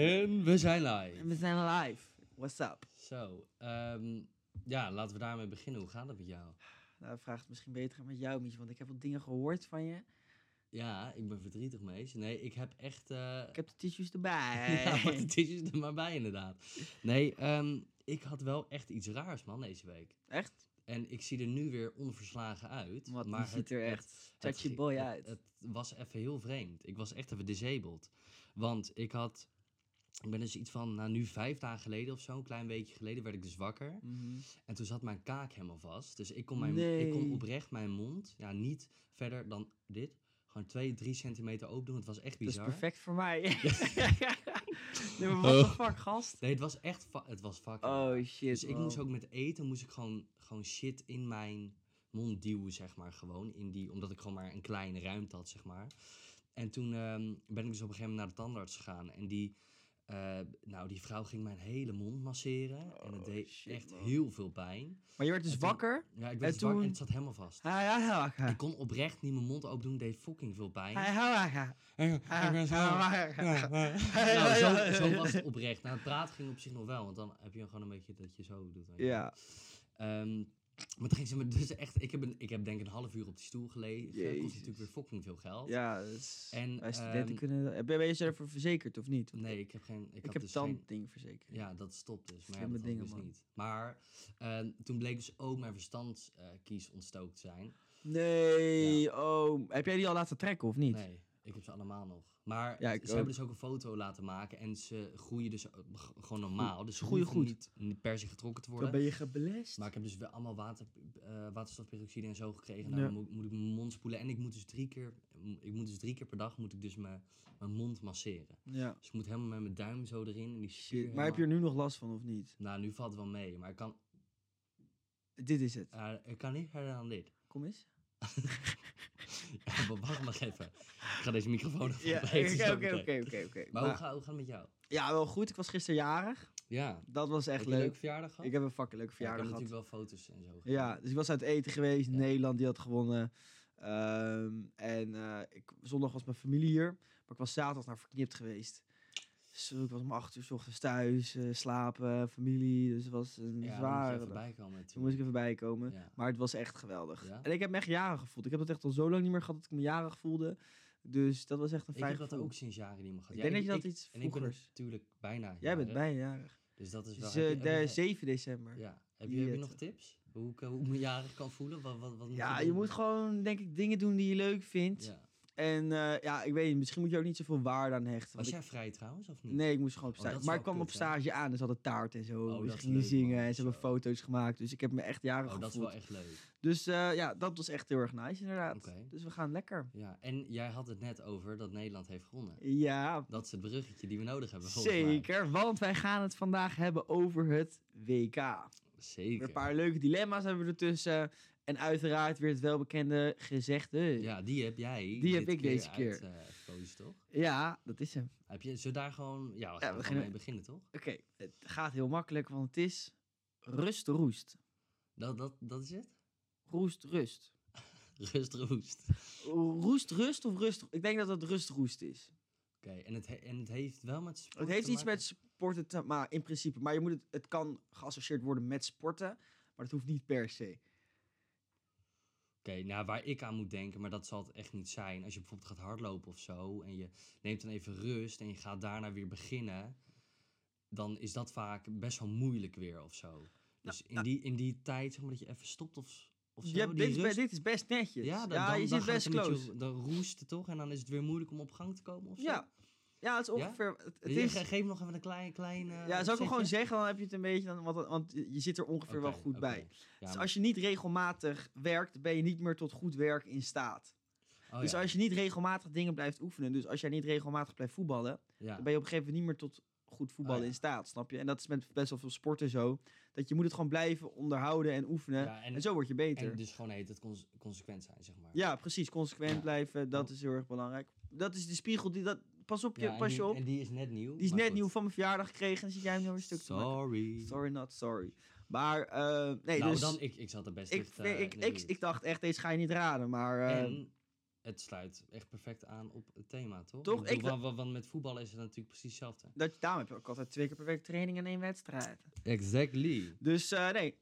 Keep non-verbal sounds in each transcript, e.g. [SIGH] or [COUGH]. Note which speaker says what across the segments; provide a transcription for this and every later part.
Speaker 1: En we zijn live.
Speaker 2: En we zijn live. What's up?
Speaker 1: Zo, ehm, ja, laten we daarmee beginnen. Hoe gaat het met jou?
Speaker 2: Nou, vraag het misschien beter met jou, Mies, want ik heb wat dingen gehoord van je.
Speaker 1: Ja, ik ben verdrietig, mees. Nee, ik heb echt... eh, [LAUGHS]
Speaker 2: Ik heb de tissues erbij.
Speaker 1: ja, pak de tissues er maar bij, inderdaad. Nee, ehm, ik had wel echt iets raars, man, deze week.
Speaker 2: Echt?
Speaker 1: En ik zie er nu weer onverslagen uit.
Speaker 2: Wat, je
Speaker 1: maar
Speaker 2: ziet er echt
Speaker 1: het
Speaker 2: touchy
Speaker 1: ge-
Speaker 2: boy
Speaker 1: het-
Speaker 2: uit.
Speaker 1: Het was even heel vreemd. Ik was echt even disabled. Want ik had... Ik ben dus iets van, nou nu vijf dagen geleden of zo, een klein weekje geleden, werd ik dus wakker.
Speaker 2: Mhm.
Speaker 1: En toen zat mijn kaak helemaal vast. Dus ik kon, mijn, ik kon
Speaker 2: Nee.
Speaker 1: oprecht mijn mond ja, niet verder dan dit. Gewoon twee, drie centimeter open doen. Het was echt
Speaker 2: Dat is
Speaker 1: bizar.
Speaker 2: perfect voor mij. [LAUGHS] nee, maar what the fuck, gast?
Speaker 1: Nee, het was echt fa- het was fucking raar.
Speaker 2: Oh shit.
Speaker 1: Oh. Dus ik moest
Speaker 2: man.
Speaker 1: ook met eten, moest ik gewoon, gewoon shit in mijn mond duwen, zeg maar. Gewoon in die, omdat ik gewoon maar een kleine ruimte had, zeg maar. En toen ehm, ben ik dus op een gegeven moment naar de tandarts gegaan. En die, eh, nou, die vrouw ging mijn hele mond masseren. en het
Speaker 2: Oh,
Speaker 1: deed
Speaker 2: shit,
Speaker 1: echt
Speaker 2: man.
Speaker 1: heel veel pijn.
Speaker 2: Maar je werd dus
Speaker 1: En toen-
Speaker 2: wakker.
Speaker 1: Ja, ik
Speaker 2: En
Speaker 1: werd dus wakker en
Speaker 2: toen-
Speaker 1: het zat helemaal vast.
Speaker 2: Hij ja, ja, wakker.
Speaker 1: Ik kon oprecht niet mijn mond open doen, deed fucking veel pijn.
Speaker 2: Hij ja, wakker. Hij ja, wakker. [LAUGHS]
Speaker 1: Nou, zo, zo was het oprecht. Nou, het praten ging op zich nog wel, want dan heb je gewoon een beetje dat je zo doet. weet je.
Speaker 2: Ja.
Speaker 1: Ehm, maar toen ging ze me dus echt... Ik heb, een, ik heb denk ik een half uur op die stoel gelegen. Dat kost
Speaker 2: Jezus.
Speaker 1: natuurlijk weer fucking veel geld.
Speaker 2: Ja, dat is-
Speaker 1: En,
Speaker 2: wij studenten
Speaker 1: ehm,
Speaker 2: kunnen... dat- Ben ben je ervoor verzekerd of niet? Want
Speaker 1: Nee, ik heb geen... Ik,
Speaker 2: Ik
Speaker 1: had
Speaker 2: heb
Speaker 1: dus geen-
Speaker 2: tandding verzekerd.
Speaker 1: Ja, dat stopt dus. Maar ja,
Speaker 2: Slimme
Speaker 1: dat dingen,
Speaker 2: dingen,
Speaker 1: dus
Speaker 2: man.
Speaker 1: niet. Maar ehm, toen bleek dus ook mijn verstandskies ontstookt te zijn.
Speaker 2: Nee, oh. Heb jij die al laten trekken of niet?
Speaker 1: Nee, ik heb ze allemaal nog. Maar
Speaker 2: Ja,
Speaker 1: ze
Speaker 2: ik
Speaker 1: hebben
Speaker 2: ook.
Speaker 1: dus ook een foto laten maken en ze groeien dus eh, g- gewoon normaal. Dus ze
Speaker 2: groeien
Speaker 1: hoeven
Speaker 2: goed.
Speaker 1: Niet, niet per se getrokken te
Speaker 2: Dan
Speaker 1: worden.
Speaker 2: ben je geblest.
Speaker 1: Maar ik heb dus wel allemaal water, eh, waterstofperoxide en zo gekregen. Nou,
Speaker 2: Ja.
Speaker 1: dan moet, moet ik mijn mond spoelen. En ik moet dus drie keer, ik moet dus drie keer per dag moet ik dus mijn, mijn mond masseren.
Speaker 2: Ja.
Speaker 1: Dus ik moet helemaal met mijn duim zo erin. En die zuur
Speaker 2: Shit. Maar heb je er
Speaker 1: helemaal-
Speaker 2: nu nog last van of niet?
Speaker 1: Nou, nu valt het wel mee. Maar ik kan,
Speaker 2: Dit is het.
Speaker 1: eh, ik kan niet verder dan dit. [LAUGHS]
Speaker 2: Kom [LAUGHS] eens.
Speaker 1: Ja, maar wacht nog even. Ik ga deze microfoon even opeten,
Speaker 2: oké,
Speaker 1: zo
Speaker 2: oké,
Speaker 1: meteen.
Speaker 2: oké, oké, oké.
Speaker 1: Maar hoe
Speaker 2: Maar-
Speaker 1: gaat, hoe gaat het met jou?
Speaker 2: Ja, wel goed. Ik was gisteren jarig.
Speaker 1: Ja,
Speaker 2: Dat was echt
Speaker 1: heb je een leuke
Speaker 2: leuk.
Speaker 1: verjaardag gehad?
Speaker 2: Ik heb een fucking leuke
Speaker 1: Ja, ik
Speaker 2: verjaardag
Speaker 1: heb
Speaker 2: gehad.
Speaker 1: natuurlijk wel foto's en zo.
Speaker 2: Ja, dus ik was uit eten geweest. Nederland, die had gewonnen. Ehm, en eh, ik, zondag was mijn familie hier. Maar ik was zaterdag naar verknipt geweest. Dus ik was om acht uur 's ochtends thuis, eh, slapen, familie. Dus het was een
Speaker 1: ja, daar moet je
Speaker 2: zware
Speaker 1: even
Speaker 2: dag.
Speaker 1: bij komen
Speaker 2: Toen moest
Speaker 1: natuurlijk.
Speaker 2: ik even bijkomen.
Speaker 1: Ja.
Speaker 2: Maar het was echt geweldig.
Speaker 1: Ja?
Speaker 2: En ik heb me echt jarig gevoeld. Ik heb dat echt al zo lang niet meer gehad dat ik me jarig voelde. Dus dat was echt een
Speaker 1: Ik
Speaker 2: fijn
Speaker 1: heb dat
Speaker 2: gevoel.
Speaker 1: ook sinds jaren niet meer gehad.
Speaker 2: Ik denk dat je dat iets
Speaker 1: En ik ben
Speaker 2: vroegers-
Speaker 1: natuurlijk bijna
Speaker 2: Jij bent
Speaker 1: jarig,
Speaker 2: bijna jarig.
Speaker 1: Dus dat is
Speaker 2: Het
Speaker 1: wel...
Speaker 2: is
Speaker 1: heb je-
Speaker 2: eh,
Speaker 1: heb
Speaker 2: de
Speaker 1: je-
Speaker 2: 7 december. Ja,
Speaker 1: Ja. Heb je, heb je
Speaker 2: Jeet.
Speaker 1: nog tips? Hoe ik, hoe ik me jarig kan voelen? Wat, wat, wat moet
Speaker 2: je
Speaker 1: doen?
Speaker 2: moet gewoon, denk ik, dingen doen die je leuk vindt.
Speaker 1: Ja.
Speaker 2: En eh, ja, ik weet niet, misschien moet je ook niet zoveel waarde aan hechten.
Speaker 1: Was
Speaker 2: want
Speaker 1: jij vrij trouwens, of
Speaker 2: ik-
Speaker 1: niet?
Speaker 2: Nee, ik moest gewoon op
Speaker 1: Oh, dat
Speaker 2: stage.
Speaker 1: is
Speaker 2: maar
Speaker 1: wel
Speaker 2: ik kwam
Speaker 1: kut,
Speaker 2: op
Speaker 1: hè?
Speaker 2: stage aan en ze hadden taart en zo.
Speaker 1: Oh,
Speaker 2: dus
Speaker 1: dat
Speaker 2: ze
Speaker 1: is
Speaker 2: gingen
Speaker 1: leuk,
Speaker 2: zingen
Speaker 1: man.
Speaker 2: en ze hebben
Speaker 1: Zo.
Speaker 2: foto's gemaakt. Dus ik heb me echt jarig
Speaker 1: Oh, dat is
Speaker 2: gevoeld.
Speaker 1: wel echt leuk.
Speaker 2: Dus eh, ja, dat was echt heel erg nice inderdaad.
Speaker 1: Oké.
Speaker 2: Dus we gaan lekker.
Speaker 1: Ja. En jij had het net over dat Nederland heeft gewonnen.
Speaker 2: Ja,
Speaker 1: Dat is het bruggetje die we nodig hebben, volgens mij.
Speaker 2: Zeker, want wij gaan het vandaag hebben over het WK. Weer
Speaker 1: Zeker.
Speaker 2: een paar leuke dilemma's hebben we ertussen. En uiteraard weer het welbekende gezegde. Ja,
Speaker 1: Ja, die heb jij.
Speaker 2: Die heb
Speaker 1: dit
Speaker 2: ik deze keer.
Speaker 1: uitgekozen, toch?
Speaker 2: dat is hem.
Speaker 1: Heb je, zullen we daar gewoon... Ja, we gaan er
Speaker 2: we
Speaker 1: gewoon
Speaker 2: beginnen-
Speaker 1: mee beginnen, toch?
Speaker 2: Oké, het gaat heel makkelijk, want het is rust, roest.
Speaker 1: Dat, dat, dat is het?
Speaker 2: Roest, rust.
Speaker 1: Rust, roest.
Speaker 2: Roest, rust of rust? Ik denk dat het rust, roest is.
Speaker 1: Oké, en, het he- en het heeft wel met sport
Speaker 2: Het heeft
Speaker 1: te
Speaker 2: iets
Speaker 1: maken?
Speaker 2: met sporten te maken, in principe. Maar je moet het, het kan geassocieerd worden met sporten, maar dat hoeft niet per se.
Speaker 1: Oké, nou waar ik aan moet denken, maar dat zal het echt niet zijn. Als je bijvoorbeeld gaat hardlopen of zo en je neemt dan even rust en je gaat daarna weer beginnen, dan is dat vaak best wel moeilijk weer of zo. Dus in, die, in die tijd, zeg maar, dat je even stopt of, of zo.
Speaker 2: Nou, Ja,
Speaker 1: die
Speaker 2: dit, is be-
Speaker 1: rust-
Speaker 2: dit is best netjes.
Speaker 1: ja,
Speaker 2: Ja,
Speaker 1: dan, dan, dan
Speaker 2: je zit
Speaker 1: gaat
Speaker 2: best
Speaker 1: het een beetje-
Speaker 2: close.
Speaker 1: Dan roest het toch en dan is het weer moeilijk om op gang te komen of zo.
Speaker 2: Ja. Ja, het is
Speaker 1: Ja?
Speaker 2: ongeveer. Het, het
Speaker 1: Je-
Speaker 2: is,
Speaker 1: ge- Geef me nog even een klein... klein eh,
Speaker 2: ja, zou ik hem gewoon
Speaker 1: opzetje.
Speaker 2: zeggen, dan heb je het een beetje. Dan, want, want je zit er ongeveer wel
Speaker 1: Oké,
Speaker 2: goed
Speaker 1: oké.
Speaker 2: bij.
Speaker 1: Ja,
Speaker 2: Dus als je niet regelmatig werkt, ben je niet meer tot goed werk in staat.
Speaker 1: oh,
Speaker 2: dus
Speaker 1: ja,
Speaker 2: als je niet regelmatig dingen blijft oefenen, dus als jij niet regelmatig blijft voetballen,
Speaker 1: ja. Oh
Speaker 2: dan ben je op een gegeven moment niet meer tot goed voetballen
Speaker 1: ja.
Speaker 2: in staat, snap je? En dat is met best wel veel sporten zo. Dat je moet het gewoon blijven onderhouden en oefenen.
Speaker 1: Ja, en-
Speaker 2: en, zo word je beter.
Speaker 1: En dus gewoon heet het cons- consequent zijn, zeg maar.
Speaker 2: ja, precies. Consequent
Speaker 1: Ja.
Speaker 2: blijven, dat
Speaker 1: Ja.
Speaker 2: is heel erg belangrijk. Dat is de spiegel die dat. Pas op je,
Speaker 1: Ja, en
Speaker 2: pas je
Speaker 1: die-
Speaker 2: op.
Speaker 1: En die is net nieuw.
Speaker 2: Die is
Speaker 1: maar
Speaker 2: net
Speaker 1: goed.
Speaker 2: nieuw van mijn verjaardag gekregen. En zit jij hem nu weer stuk te maken.
Speaker 1: Sorry.
Speaker 2: Sorry, not sorry. Maar, eh nee,
Speaker 1: nou,
Speaker 2: dus...
Speaker 1: dan, ik, ik zat er best
Speaker 2: ik,
Speaker 1: dicht,
Speaker 2: nee,
Speaker 1: eh,
Speaker 2: ik,
Speaker 1: in de
Speaker 2: ik,
Speaker 1: buurt.
Speaker 2: ik dacht echt, deze ga je niet raden. Maar eh,
Speaker 1: En het sluit echt perfect aan op het thema, toch?
Speaker 2: Toch?
Speaker 1: Ik bedoel,
Speaker 2: Ik dacht-
Speaker 1: wa- wa- want, met voetballen is het natuurlijk precies hetzelfde.
Speaker 2: Dat, daarom heb je ook altijd twee keer per week training en één wedstrijd.
Speaker 1: Exactly.
Speaker 2: Dus eh, nee,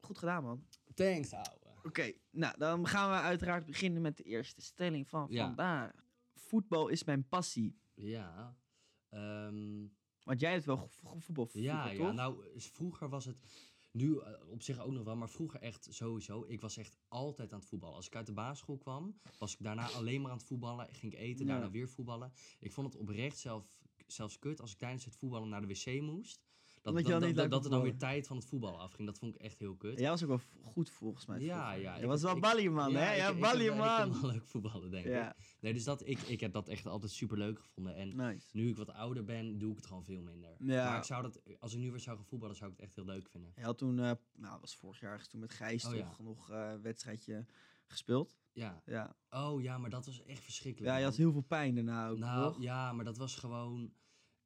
Speaker 2: goed gedaan man.
Speaker 1: Thanks, ouwe.
Speaker 2: Oké, nou dan gaan we uiteraard beginnen met de eerste stelling van
Speaker 1: Ja.
Speaker 2: vandaag. Voetbal is mijn passie.
Speaker 1: Ja. Ehm,
Speaker 2: Want jij hebt wel goed voetbal, voetbal
Speaker 1: ja,
Speaker 2: toch?
Speaker 1: ja, nou, is- vroeger was het... Nu eh, op zich ook nog wel, maar vroeger echt sowieso. Ik was echt altijd aan het voetballen. Als ik uit de basisschool kwam, was ik daarna alleen maar aan het voetballen. Ging ik eten,
Speaker 2: Ja.
Speaker 1: daarna weer voetballen. Ik vond het oprecht zelf, zelfs kut als ik tijdens het voetballen naar de wc moest. Dat,
Speaker 2: Omdat je
Speaker 1: dat,
Speaker 2: dan niet
Speaker 1: dat,
Speaker 2: leuk
Speaker 1: dat
Speaker 2: kon
Speaker 1: er dan weer
Speaker 2: voetballen.
Speaker 1: tijd van het voetballen afging. Dat vond ik echt heel kut.
Speaker 2: Jij was ook wel v- goed volgens mij.
Speaker 1: Ja,
Speaker 2: vroeger.
Speaker 1: ja,
Speaker 2: Je
Speaker 1: ik
Speaker 2: was
Speaker 1: heb-
Speaker 2: wel
Speaker 1: ik-
Speaker 2: balieman, hè? Ja,
Speaker 1: ik- ik heb- Ik
Speaker 2: balieman.
Speaker 1: kon wel leuk voetballen, denk ik.
Speaker 2: Ja,
Speaker 1: Nee, dus dat, ik, ik heb dat echt altijd super leuk gevonden. En
Speaker 2: nice.
Speaker 1: nu ik wat ouder ben, doe ik het gewoon veel minder.
Speaker 2: Ja.
Speaker 1: Maar ik zou dat, als ik nu weer zou gaan voetballen, zou ik het echt heel leuk vinden.
Speaker 2: Hij had toen, eh, nou, dat was vorig jaar, ergens toen met Gijs
Speaker 1: Oh,
Speaker 2: toch
Speaker 1: ja.
Speaker 2: nog eh, een wedstrijdje gespeeld.
Speaker 1: Ja.
Speaker 2: Ja.
Speaker 1: Oh ja, maar dat was echt verschrikkelijk.
Speaker 2: ja, je
Speaker 1: man.
Speaker 2: had heel veel pijn daarna ook,
Speaker 1: Nou
Speaker 2: toch?
Speaker 1: ja, maar dat was gewoon.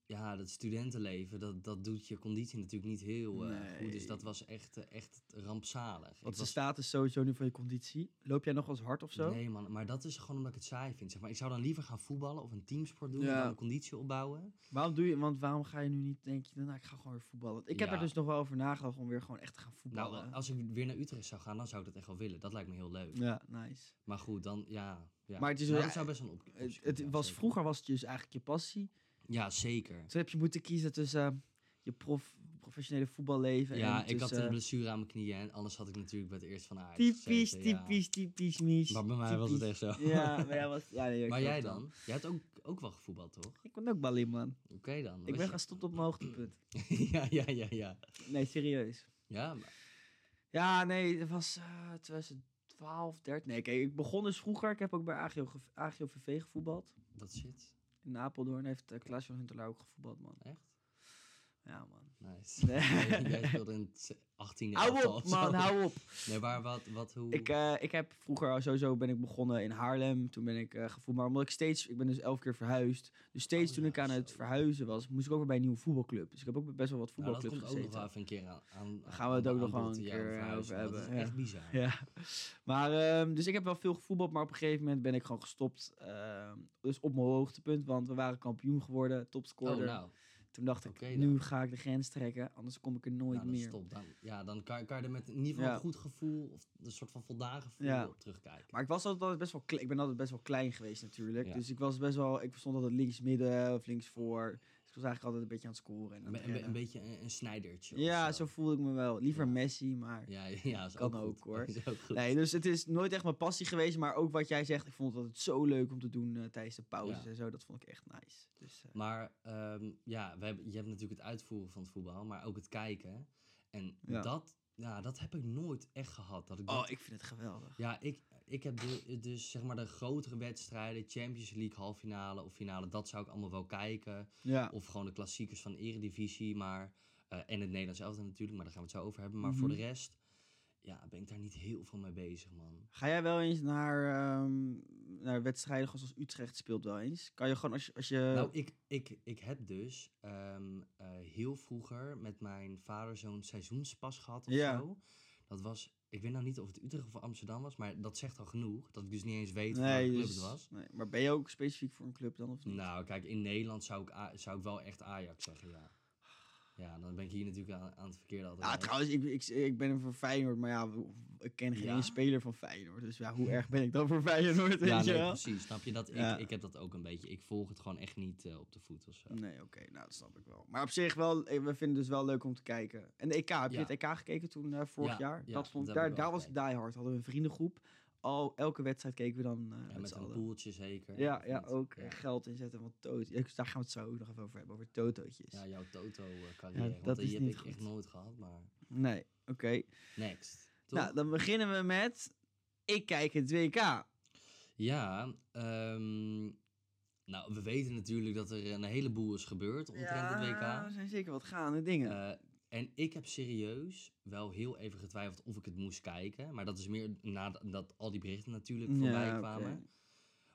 Speaker 1: Ja, dat studentenleven, dat, dat doet je conditie natuurlijk niet heel eh, goed. Dus
Speaker 2: Nee.
Speaker 1: dat was echt, eh, echt rampzalig.
Speaker 2: Want
Speaker 1: Ik
Speaker 2: de
Speaker 1: was
Speaker 2: status sowieso nu van je conditie. Loop jij nog wel eens hard of zo?
Speaker 1: Nee, man, maar dat is gewoon omdat ik het saai vind. Zeg maar. Ik zou dan liever gaan voetballen of een teamsport doen.
Speaker 2: Ja.
Speaker 1: En dan mijn conditie opbouwen. Nou,
Speaker 2: Waarom doe je, want waarom ga je nu niet, denk je, nou, ik ga gewoon weer voetballen? Ik heb
Speaker 1: Ja.
Speaker 2: er dus nog wel over nagedacht om weer gewoon echt te gaan voetballen.
Speaker 1: Nou, als ik weer naar Utrecht zou gaan, dan zou ik dat echt wel willen. Dat lijkt me heel leuk.
Speaker 2: ja, nice.
Speaker 1: Maar goed, dan ja. ja.
Speaker 2: Maar het is
Speaker 1: Nou,
Speaker 2: wel-
Speaker 1: dat zou best wel een op. optie
Speaker 2: Het,
Speaker 1: kunnen
Speaker 2: het
Speaker 1: zijn,
Speaker 2: was,
Speaker 1: zeker.
Speaker 2: vroeger was het dus eigenlijk je passie.
Speaker 1: Ja, zeker.
Speaker 2: Toen heb je moeten kiezen tussen eh, je prof, professionele voetballeven en
Speaker 1: Ja, ik had
Speaker 2: tussen,
Speaker 1: een blessure aan mijn knieën en anders had ik natuurlijk bij het eerst van Ajax.
Speaker 2: eh, Typisch,
Speaker 1: gezeten, ja.
Speaker 2: typisch, typisch, mies.
Speaker 1: Maar bij mij was het echt zo.
Speaker 2: Ja, maar jij, was, ja, nee, ik
Speaker 1: [LAUGHS] Maar
Speaker 2: snap
Speaker 1: jij
Speaker 2: het wel.
Speaker 1: dan? Jij hebt ook, ook wel gevoetbald, toch?
Speaker 2: Ik ben ook balieman.
Speaker 1: Oké dan.
Speaker 2: Ik
Speaker 1: Was
Speaker 2: ben
Speaker 1: je-
Speaker 2: gestopt op mijn hoogtepunt.
Speaker 1: [LAUGHS] ja, ja, ja, ja.
Speaker 2: Nee, serieus.
Speaker 1: Ja, maar-
Speaker 2: Ja, nee, het was eh 2012, 13. Nee, kijk, ik begon dus vroeger. Ik heb ook bij AGO, ge- AGO VV gevoetbald.
Speaker 1: dat zit.
Speaker 2: In Apeldoorn heeft eh, Klaas van Huntelaar ook gevoetbald, man.
Speaker 1: Echt?
Speaker 2: Ja, man.
Speaker 1: Nice. [LAUGHS]
Speaker 2: Nee.
Speaker 1: Jij- jij speelde in het 18e
Speaker 2: Hou
Speaker 1: elftal
Speaker 2: op,
Speaker 1: of zo.
Speaker 2: man, hou op.
Speaker 1: Nee, maar wat, wat, hoe?
Speaker 2: Ik, eh, ik heb vroeger al sowieso ben ik begonnen in Haarlem. Toen ben ik eh gevoeld. Maar omdat ik steeds, ik ben dus elf keer verhuisd. Dus steeds
Speaker 1: Oh
Speaker 2: toen
Speaker 1: ja,
Speaker 2: ik aan het
Speaker 1: zo.
Speaker 2: verhuizen was, moest ik ook weer bij een nieuwe voetbalclub. Dus ik heb ook bij best wel wat
Speaker 1: nou, dat
Speaker 2: voetbalclubs
Speaker 1: komt ook nog
Speaker 2: gezeten.
Speaker 1: wel even een keer aan. aan
Speaker 2: Daar gaan we het
Speaker 1: aan-
Speaker 2: ook nog
Speaker 1: aan
Speaker 2: wel
Speaker 1: bod,
Speaker 2: een
Speaker 1: ja,
Speaker 2: keer, eh,
Speaker 1: verhuizen,
Speaker 2: over
Speaker 1: want Dat
Speaker 2: hebben,
Speaker 1: is echt bizar. Oh,
Speaker 2: Ja. Maar, ehm, dus ik heb wel veel gevoetbald, maar op een gegeven moment ben ik gewoon gestopt. ehm, dus op mijn hoogtepunt, want we waren kampioen geworden,
Speaker 1: Oh,
Speaker 2: topscorer.
Speaker 1: nou.
Speaker 2: Toen dacht ik,
Speaker 1: Oké
Speaker 2: nu
Speaker 1: dan.
Speaker 2: ga ik de grens trekken, anders kom ik er nooit
Speaker 1: nou, dat
Speaker 2: meer.
Speaker 1: Stop. Dan, ja, dan kan, kan je er met in ieder geval
Speaker 2: Ja.
Speaker 1: een goed gevoel of een soort van voldaan gevoel
Speaker 2: Ja.
Speaker 1: op terugkijken.
Speaker 2: Maar ik was altijd, altijd best wel klein. Ik ben altijd best wel klein geweest natuurlijk.
Speaker 1: Ja.
Speaker 2: Dus ik was best wel. Ik stond altijd links midden of links voor. Dus ik was eigenlijk altijd een beetje aan het scoren. En aan
Speaker 1: Een be-
Speaker 2: het
Speaker 1: een, be-
Speaker 2: rennen.
Speaker 1: een beetje een, een snijdertje. of
Speaker 2: ja, zo voelde ik me wel. Liever
Speaker 1: Ja.
Speaker 2: Messi, maar.
Speaker 1: Ja, [LAUGHS] ja, ja, is
Speaker 2: Kan
Speaker 1: ook
Speaker 2: ook,
Speaker 1: goed.
Speaker 2: hoor.
Speaker 1: [LAUGHS] Is ook goed.
Speaker 2: Nee, dus het is nooit echt mijn passie geweest. Maar ook wat jij zegt, ik vond het altijd zo leuk om te doen eh, tijdens de pauzes
Speaker 1: Ja.
Speaker 2: en zo. Dat vond ik echt nice. Dus, eh,
Speaker 1: Maar ehm, ja, we hebben, je hebt natuurlijk het uitvoeren van het voetbal, maar ook het kijken. En
Speaker 2: Ja.
Speaker 1: dat, ja, dat heb ik nooit echt gehad. Dat ik
Speaker 2: oh,
Speaker 1: dat-
Speaker 2: ik vind het geweldig.
Speaker 1: Ja, ik, ik heb de- dus zeg maar de grotere wedstrijden, Champions League, halffinale of finale, dat zou ik allemaal wel kijken.
Speaker 2: Ja.
Speaker 1: Of gewoon de klassiekers van de Eredivisie, maar, eh, en het Nederlands elftal natuurlijk, maar daar gaan we het zo over hebben. Maar voor
Speaker 2: Mhm.
Speaker 1: de rest, ja, ben ik daar niet heel veel mee bezig, man.
Speaker 2: Ga jij wel eens naar, ehm, naar wedstrijden gewoon zoals Utrecht speelt wel eens? Kan je gewoon als je. Als je
Speaker 1: Nou, ik, ik, ik heb dus ehm, eh, heel vroeger met mijn vader zo'n seizoenspas gehad of
Speaker 2: Ja.
Speaker 1: zo. Dat was, ik weet nou niet of het Utrecht of Amsterdam was, maar dat zegt al genoeg. Dat ik dus niet eens weet waar welke
Speaker 2: nee,
Speaker 1: club
Speaker 2: dus-
Speaker 1: het was.
Speaker 2: nee, maar ben je ook specifiek voor een club dan of niet?
Speaker 1: Nou, kijk, in Nederland zou ik, A- zou ik wel echt Ajax zeggen, ja. Ja, dan ben ik hier natuurlijk aan, aan het verkeerde altijd.
Speaker 2: Ja, trouwens, ik, ik, ik ben voor Feyenoord, maar ja, we- ik ken geen
Speaker 1: Ja?
Speaker 2: één speler van Feyenoord. Dus ja, hoe erg ben ik dan voor Feyenoord, weet
Speaker 1: Ja,
Speaker 2: je
Speaker 1: nee,
Speaker 2: wel?
Speaker 1: precies. Snap je dat? Ik,
Speaker 2: Ja.
Speaker 1: ik heb dat ook een beetje. Ik volg het gewoon echt niet eh, op de voet of zo.
Speaker 2: Nee, oké, nou, dat snap ik wel. Maar op zich wel, eh, we vinden het dus wel leuk om te kijken. En de EK, heb je
Speaker 1: Ja.
Speaker 2: het EK gekeken toen eh, vorig
Speaker 1: Ja,
Speaker 2: jaar?
Speaker 1: ja,
Speaker 2: dat vond,
Speaker 1: dat heb
Speaker 2: daar
Speaker 1: ik wel
Speaker 2: daar was ik die hard. Hadden we een vriendengroep. Al elke wedstrijd keken we dan eh,
Speaker 1: Ja,
Speaker 2: met
Speaker 1: met
Speaker 2: z'n
Speaker 1: een
Speaker 2: allen.
Speaker 1: poeltje zeker.
Speaker 2: Ja,
Speaker 1: of
Speaker 2: ja,
Speaker 1: niet?
Speaker 2: ook eh,
Speaker 1: Ja.
Speaker 2: geld inzetten van toot. ja, Daar gaan we het zo ook nog even over hebben, over totootjes.
Speaker 1: Ja, jouw eh, Toto-carrière.
Speaker 2: Ja,
Speaker 1: want
Speaker 2: dat
Speaker 1: die
Speaker 2: is
Speaker 1: heb
Speaker 2: niet
Speaker 1: ik echt
Speaker 2: goed.
Speaker 1: nooit gehad, maar...
Speaker 2: Nee, oké.
Speaker 1: Next. Toch?
Speaker 2: Nou, dan beginnen we met... Ik kijk het WK.
Speaker 1: Ja, ehm, nou, we weten natuurlijk dat er een heleboel is gebeurd omtrent het
Speaker 2: Ja,
Speaker 1: WK.
Speaker 2: er zijn zeker wat gaande dingen.
Speaker 1: Eh, en ik heb serieus wel heel even getwijfeld of ik het moest kijken. Maar dat is meer nadat al die berichten natuurlijk voorbij
Speaker 2: oké.
Speaker 1: kwamen.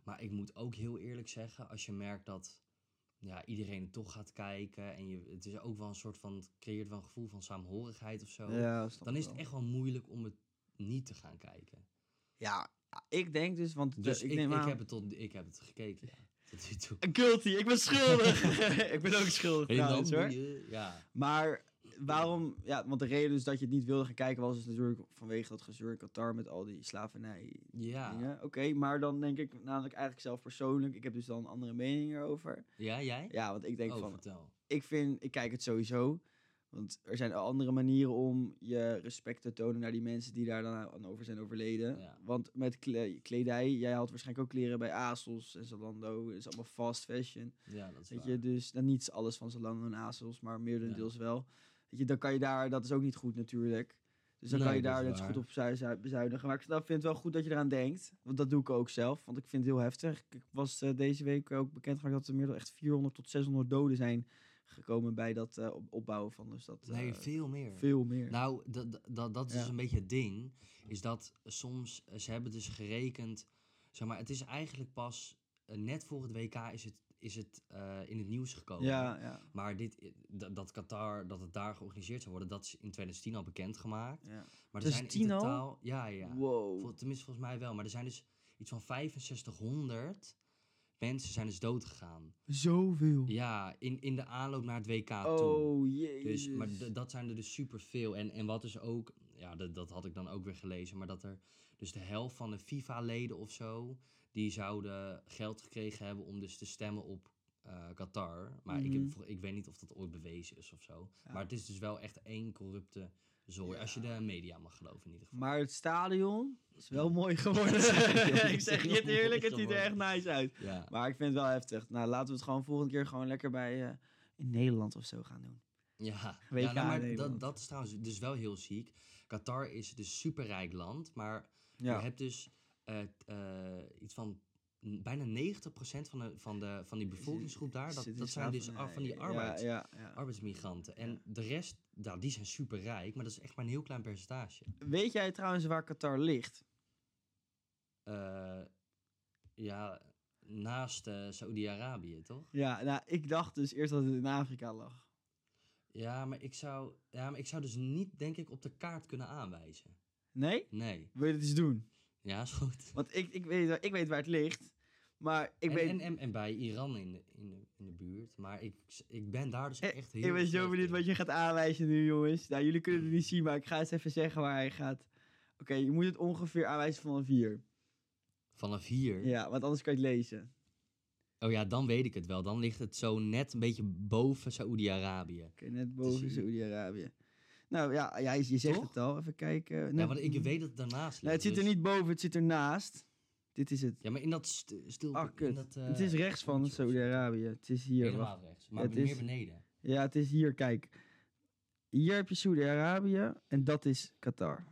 Speaker 1: Maar ik moet ook heel eerlijk zeggen, als je merkt dat ja, iedereen het toch gaat kijken. En je, het is ook wel een soort van, het creëert wel een gevoel van saamhorigheid of zo.
Speaker 2: Ja, snap
Speaker 1: dan
Speaker 2: ik
Speaker 1: is het
Speaker 2: wel.
Speaker 1: echt wel moeilijk om het niet te gaan kijken.
Speaker 2: Ja, Ja, ik denk dus, want de-
Speaker 1: Dus ik, ik,
Speaker 2: neem aan- Eh,
Speaker 1: heb, het tot, ik heb het gekeken, ja. [LAUGHS] Tot nu toe.
Speaker 2: Guilty, ik ben schuldig.
Speaker 1: [LAUGHS]
Speaker 2: [LAUGHS] ik ben ook schuldig
Speaker 1: En dan
Speaker 2: trouwens, hoor.
Speaker 1: doe je- ja.
Speaker 2: Maar waarom, ja, want de reden dus dat je het niet wilde gaan kijken was dus natuurlijk vanwege dat gezeur in Qatar met al die slavernij
Speaker 1: Ja.
Speaker 2: dingen. Oké, maar dan denk ik namelijk eigenlijk zelf persoonlijk, ik heb dus dan een andere mening erover.
Speaker 1: Ja, jij?
Speaker 2: Ja, want ik denk
Speaker 1: oh,
Speaker 2: van,
Speaker 1: vertel.
Speaker 2: ik vind, ik kijk het sowieso. Want er zijn andere manieren om je respect te tonen naar die mensen die daar dan aan over zijn overleden.
Speaker 1: Ja.
Speaker 2: Want met kle- kledij, jij had waarschijnlijk ook kleren bij ASOS en Zalando. Het is allemaal fast fashion.
Speaker 1: Ja, dat is
Speaker 2: Weet
Speaker 1: waar.
Speaker 2: je, dus dan niet alles van Zalando en ASOS, maar merendeels wel. Weet je, dan kan je daar, dat is ook niet goed natuurlijk. Dus dan
Speaker 1: Nee,
Speaker 2: kan je
Speaker 1: dat is
Speaker 2: daar net zo goed
Speaker 1: waar.
Speaker 2: op bezui- zu- bezuinigen. Maar ik snap- vind het wel goed dat je eraan denkt. Want dat doe ik ook zelf. Want ik vind het heel heftig. Ik was eh, deze week ook bekend gemaakt dat er meer dan echt 400 tot 600 doden zijn gekomen bij dat eh, op- opbouwen van. Dus dat
Speaker 1: Nee,
Speaker 2: eh,
Speaker 1: veel meer.
Speaker 2: veel meer.
Speaker 1: Nou, dat, dat- dat, dat is
Speaker 2: Ja.
Speaker 1: dus een beetje het ding. Is dat soms, eh, ze hebben dus gerekend. Zeg maar, het is eigenlijk pas eh, net voor het WK is het, is het eh, in het nieuws gekomen.
Speaker 2: ja, ja,
Speaker 1: Maar dit, eh, dat, dat Qatar, dat het daar georganiseerd zou worden, dat is in 2010 al bekendgemaakt.
Speaker 2: ja.
Speaker 1: Maar er zijn in
Speaker 2: 2010 Dus al?
Speaker 1: totaal. Ja, ja.
Speaker 2: Wow.
Speaker 1: Vol- tenminste, volgens mij wel. Maar er zijn dus iets van 6500 mensen zijn dus dood gegaan.
Speaker 2: Zoveel.
Speaker 1: Ja, in, in de aanloop naar het WK toe.
Speaker 2: oh, jee.
Speaker 1: Dus, maar d- dat zijn er dus superveel. En, en wat is ook, ja, dat, dat had ik dan ook weer gelezen, maar dat er dus de helft van de FIFA-leden of zo, die zouden geld gekregen hebben om dus te stemmen op eh, Qatar. Maar ik, heb,
Speaker 2: Mhm.
Speaker 1: vro- ik weet niet of dat ooit bewezen is of zo.
Speaker 2: Ja.
Speaker 1: Maar het is dus wel echt één corrupte zooi, als je de media mag geloven in ieder geval.
Speaker 2: Maar het stadion is wel [LAUGHS] mooi geworden. [LAUGHS] ik zeg je het eerlijk, het ziet er echt nice uit.
Speaker 1: Ja,
Speaker 2: Maar ik vind het wel heftig. Nou, laten we het gewoon volgende keer gewoon lekker bij eh, in Nederland of zo gaan doen. [LAUGHS]
Speaker 1: ja.
Speaker 2: WK
Speaker 1: ja nou, maar dat,
Speaker 2: Nederland.
Speaker 1: dat is trouwens dus wel heel ziek. Qatar is dus superrijk land, maar Je
Speaker 2: Ja.
Speaker 1: hebt dus eh, t- eh, iets van n- bijna 90% van, de, van, de, van die bevolkingsgroep daar. Dat,
Speaker 2: Zit in
Speaker 1: dat zijn dus
Speaker 2: slavernij.
Speaker 1: af van die
Speaker 2: eh, Ja,
Speaker 1: arbeids,
Speaker 2: Ja, ja.
Speaker 1: arbeidsmigranten. En
Speaker 2: Ja.
Speaker 1: de rest, nou, die zijn superrijk, maar dat is echt maar een heel klein percentage.
Speaker 2: Weet jij trouwens waar Qatar ligt?
Speaker 1: Eh, ja, naast eh Saoedi-Arabië, toch?
Speaker 2: Ja, nou, ik dacht dus eerst dat het in Afrika lag.
Speaker 1: Ja maar, ik zou, ja, maar ik zou dus niet, denk ik, op de kaart kunnen aanwijzen.
Speaker 2: Nee?
Speaker 1: Nee.
Speaker 2: Wil je dat eens doen?
Speaker 1: Ja, is goed.
Speaker 2: Want ik, ik, weet, ik weet waar het ligt, maar ik
Speaker 1: en,
Speaker 2: weet...
Speaker 1: en, en, en bij Iran in de, in de, in de buurt. Maar ik, ik ben daar dus
Speaker 2: Eh,
Speaker 1: echt heel
Speaker 2: ik ben zo
Speaker 1: slecht
Speaker 2: benieuwd
Speaker 1: in.
Speaker 2: wat je gaat aanwijzen nu, jongens. Nou, jullie kunnen het niet zien, maar ik ga eens even zeggen waar hij gaat. Oké, je moet het ongeveer aanwijzen van een vier.
Speaker 1: Vanaf hier.
Speaker 2: Ja, want anders kan je het lezen.
Speaker 1: Oh ja, dan weet ik het wel. Dan ligt het zo net een beetje boven Saoedi-Arabië.
Speaker 2: Oké, net
Speaker 1: hier.
Speaker 2: boven Saoedi-Arabië. Nou ja, ja, je je zegt
Speaker 1: Toch?
Speaker 2: het al. Even kijken.
Speaker 1: Ja,
Speaker 2: Net-
Speaker 1: want ik weet dat het daarnaast ligt.
Speaker 2: Nee, het zit er
Speaker 1: dus-
Speaker 2: niet boven, het zit ernaast. Dit is het.
Speaker 1: Ja, maar in dat st- stil...
Speaker 2: Ah,
Speaker 1: in
Speaker 2: kut.
Speaker 1: dat, eh,
Speaker 2: het is rechts van
Speaker 1: rondje of zo.
Speaker 2: Saoedi-Arabië. Het is hier. wacht.
Speaker 1: Helemaal rechts. Maar
Speaker 2: het
Speaker 1: meer
Speaker 2: is-
Speaker 1: beneden.
Speaker 2: Ja, het is hier, kijk. Hier heb je Saoedi-Arabië en dat is Qatar.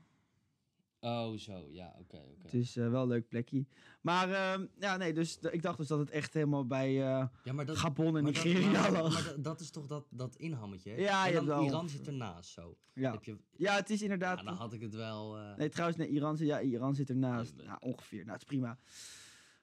Speaker 1: Oh, zo. Ja, oké, oké.
Speaker 2: Het is eh, wel een leuk plekje. Maar ehm, ja, nee, dus d- ik dacht dus dat het echt helemaal bij eh,
Speaker 1: Ja, maar dat...
Speaker 2: Gabon en
Speaker 1: maar dat- maar-
Speaker 2: Nigeria
Speaker 1: maar
Speaker 2: lag.
Speaker 1: dat- dat is toch dat, dat inhammetje?
Speaker 2: Ja,
Speaker 1: en
Speaker 2: je
Speaker 1: dan
Speaker 2: hebt wel-
Speaker 1: Iran zit ernaast, zo.
Speaker 2: Ja.
Speaker 1: Heb je...
Speaker 2: ja, het is
Speaker 1: ja,
Speaker 2: inderdaad.
Speaker 1: dan had ik het wel... eh,
Speaker 2: Nee, trouwens, nee, Iran, zit- ja, Iran zit ernaast.
Speaker 1: Nee, nee.
Speaker 2: Nou, ongeveer. Nou, het is prima.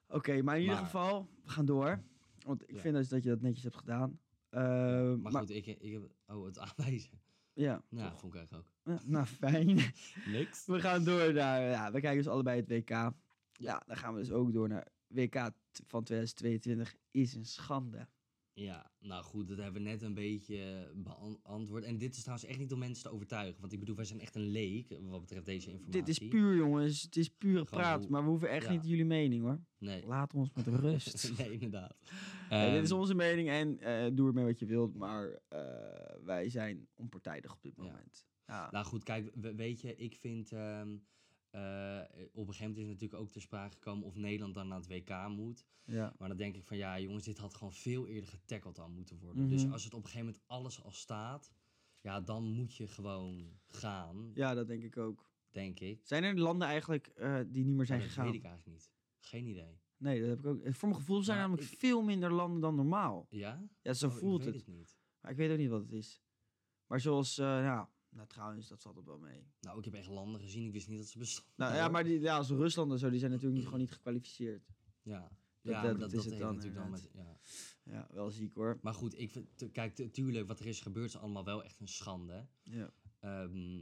Speaker 2: Oké, maar in ieder
Speaker 1: Maar-
Speaker 2: geval, we gaan door. Want ik
Speaker 1: Ja.
Speaker 2: vind dus dat je dat netjes hebt gedaan. Ehm,
Speaker 1: maar
Speaker 2: maar
Speaker 1: goed, ik, ik heb... Oh, het [LAUGHS] aanwijzen.
Speaker 2: ja,
Speaker 1: Nou,
Speaker 2: toch.
Speaker 1: vond ik eigenlijk ook.
Speaker 2: Ja, nou fijn. [LAUGHS]
Speaker 1: Niks.
Speaker 2: we gaan door naar, ja, we kijken dus allebei het WK. Ja, dan gaan we dus ook door naar WK t- van 2022 is een schande.
Speaker 1: Ja, nou goed, dat hebben we net een beetje beantwoord. En dit is trouwens echt niet om mensen te overtuigen. Want ik bedoel, wij zijn echt een leek eh, wat betreft deze informatie.
Speaker 2: Dit is puur, jongens. Het is pure
Speaker 1: Gewoon
Speaker 2: praat.
Speaker 1: hoe-
Speaker 2: Maar we hoeven echt
Speaker 1: ja.
Speaker 2: niet jullie mening, hoor.
Speaker 1: Nee.
Speaker 2: Laat ons
Speaker 1: [LAUGHS]
Speaker 2: met rust.
Speaker 1: nee, inderdaad.
Speaker 2: Nee, dit
Speaker 1: Ehm,
Speaker 2: is onze mening en eh, doe ermee wat je wilt, maar eh, wij zijn onpartijdig op dit
Speaker 1: Ja.
Speaker 2: moment. Ja.
Speaker 1: Nou goed, kijk, we- weet je, ik vind... ehm, eh, op een gegeven moment is natuurlijk ook ter sprake gekomen of Nederland dan naar het WK moet.
Speaker 2: Ja.
Speaker 1: Maar dan denk ik van, ja jongens, dit had gewoon veel eerder getackled al moeten worden. Dus
Speaker 2: Mhm.
Speaker 1: als het op een gegeven moment alles al staat... Ja, dan moet je gewoon gaan,
Speaker 2: ja, dat denk ik ook.
Speaker 1: denk ik.
Speaker 2: Zijn er landen eigenlijk eh, die niet meer zijn
Speaker 1: Maar dat
Speaker 2: gegaan?
Speaker 1: weet ik eigenlijk niet. Geen idee.
Speaker 2: Nee, dat heb ik ook. eh, Voor mijn gevoel zijn
Speaker 1: Maar
Speaker 2: er namelijk
Speaker 1: ik-
Speaker 2: veel minder landen dan normaal.
Speaker 1: Ja?
Speaker 2: Ja, zo
Speaker 1: Oh, ik
Speaker 2: voelt
Speaker 1: weet
Speaker 2: het.
Speaker 1: niet.
Speaker 2: Maar ik weet ook niet wat het is. Maar zoals, eh ja, nou trouwens, dat valt op wel mee.
Speaker 1: Nou, ik heb echt landen gezien. Ik wist niet dat ze bestonden.
Speaker 2: Nou ja,
Speaker 1: hoor.
Speaker 2: maar die, ja, als Rusland en zo, die zijn natuurlijk niet, gewoon niet gekwalificeerd.
Speaker 1: Ja, ja
Speaker 2: dat-
Speaker 1: maar
Speaker 2: dat
Speaker 1: dat, dat,
Speaker 2: is het
Speaker 1: heeft
Speaker 2: dan,
Speaker 1: natuurlijk dan met... Ja.
Speaker 2: Ja, wel ziek hoor.
Speaker 1: Maar goed, ik vind... tu- Kijk, tu- tuurlijk, wat er is gebeurd is allemaal wel echt een schande.
Speaker 2: Ja.
Speaker 1: Ehm,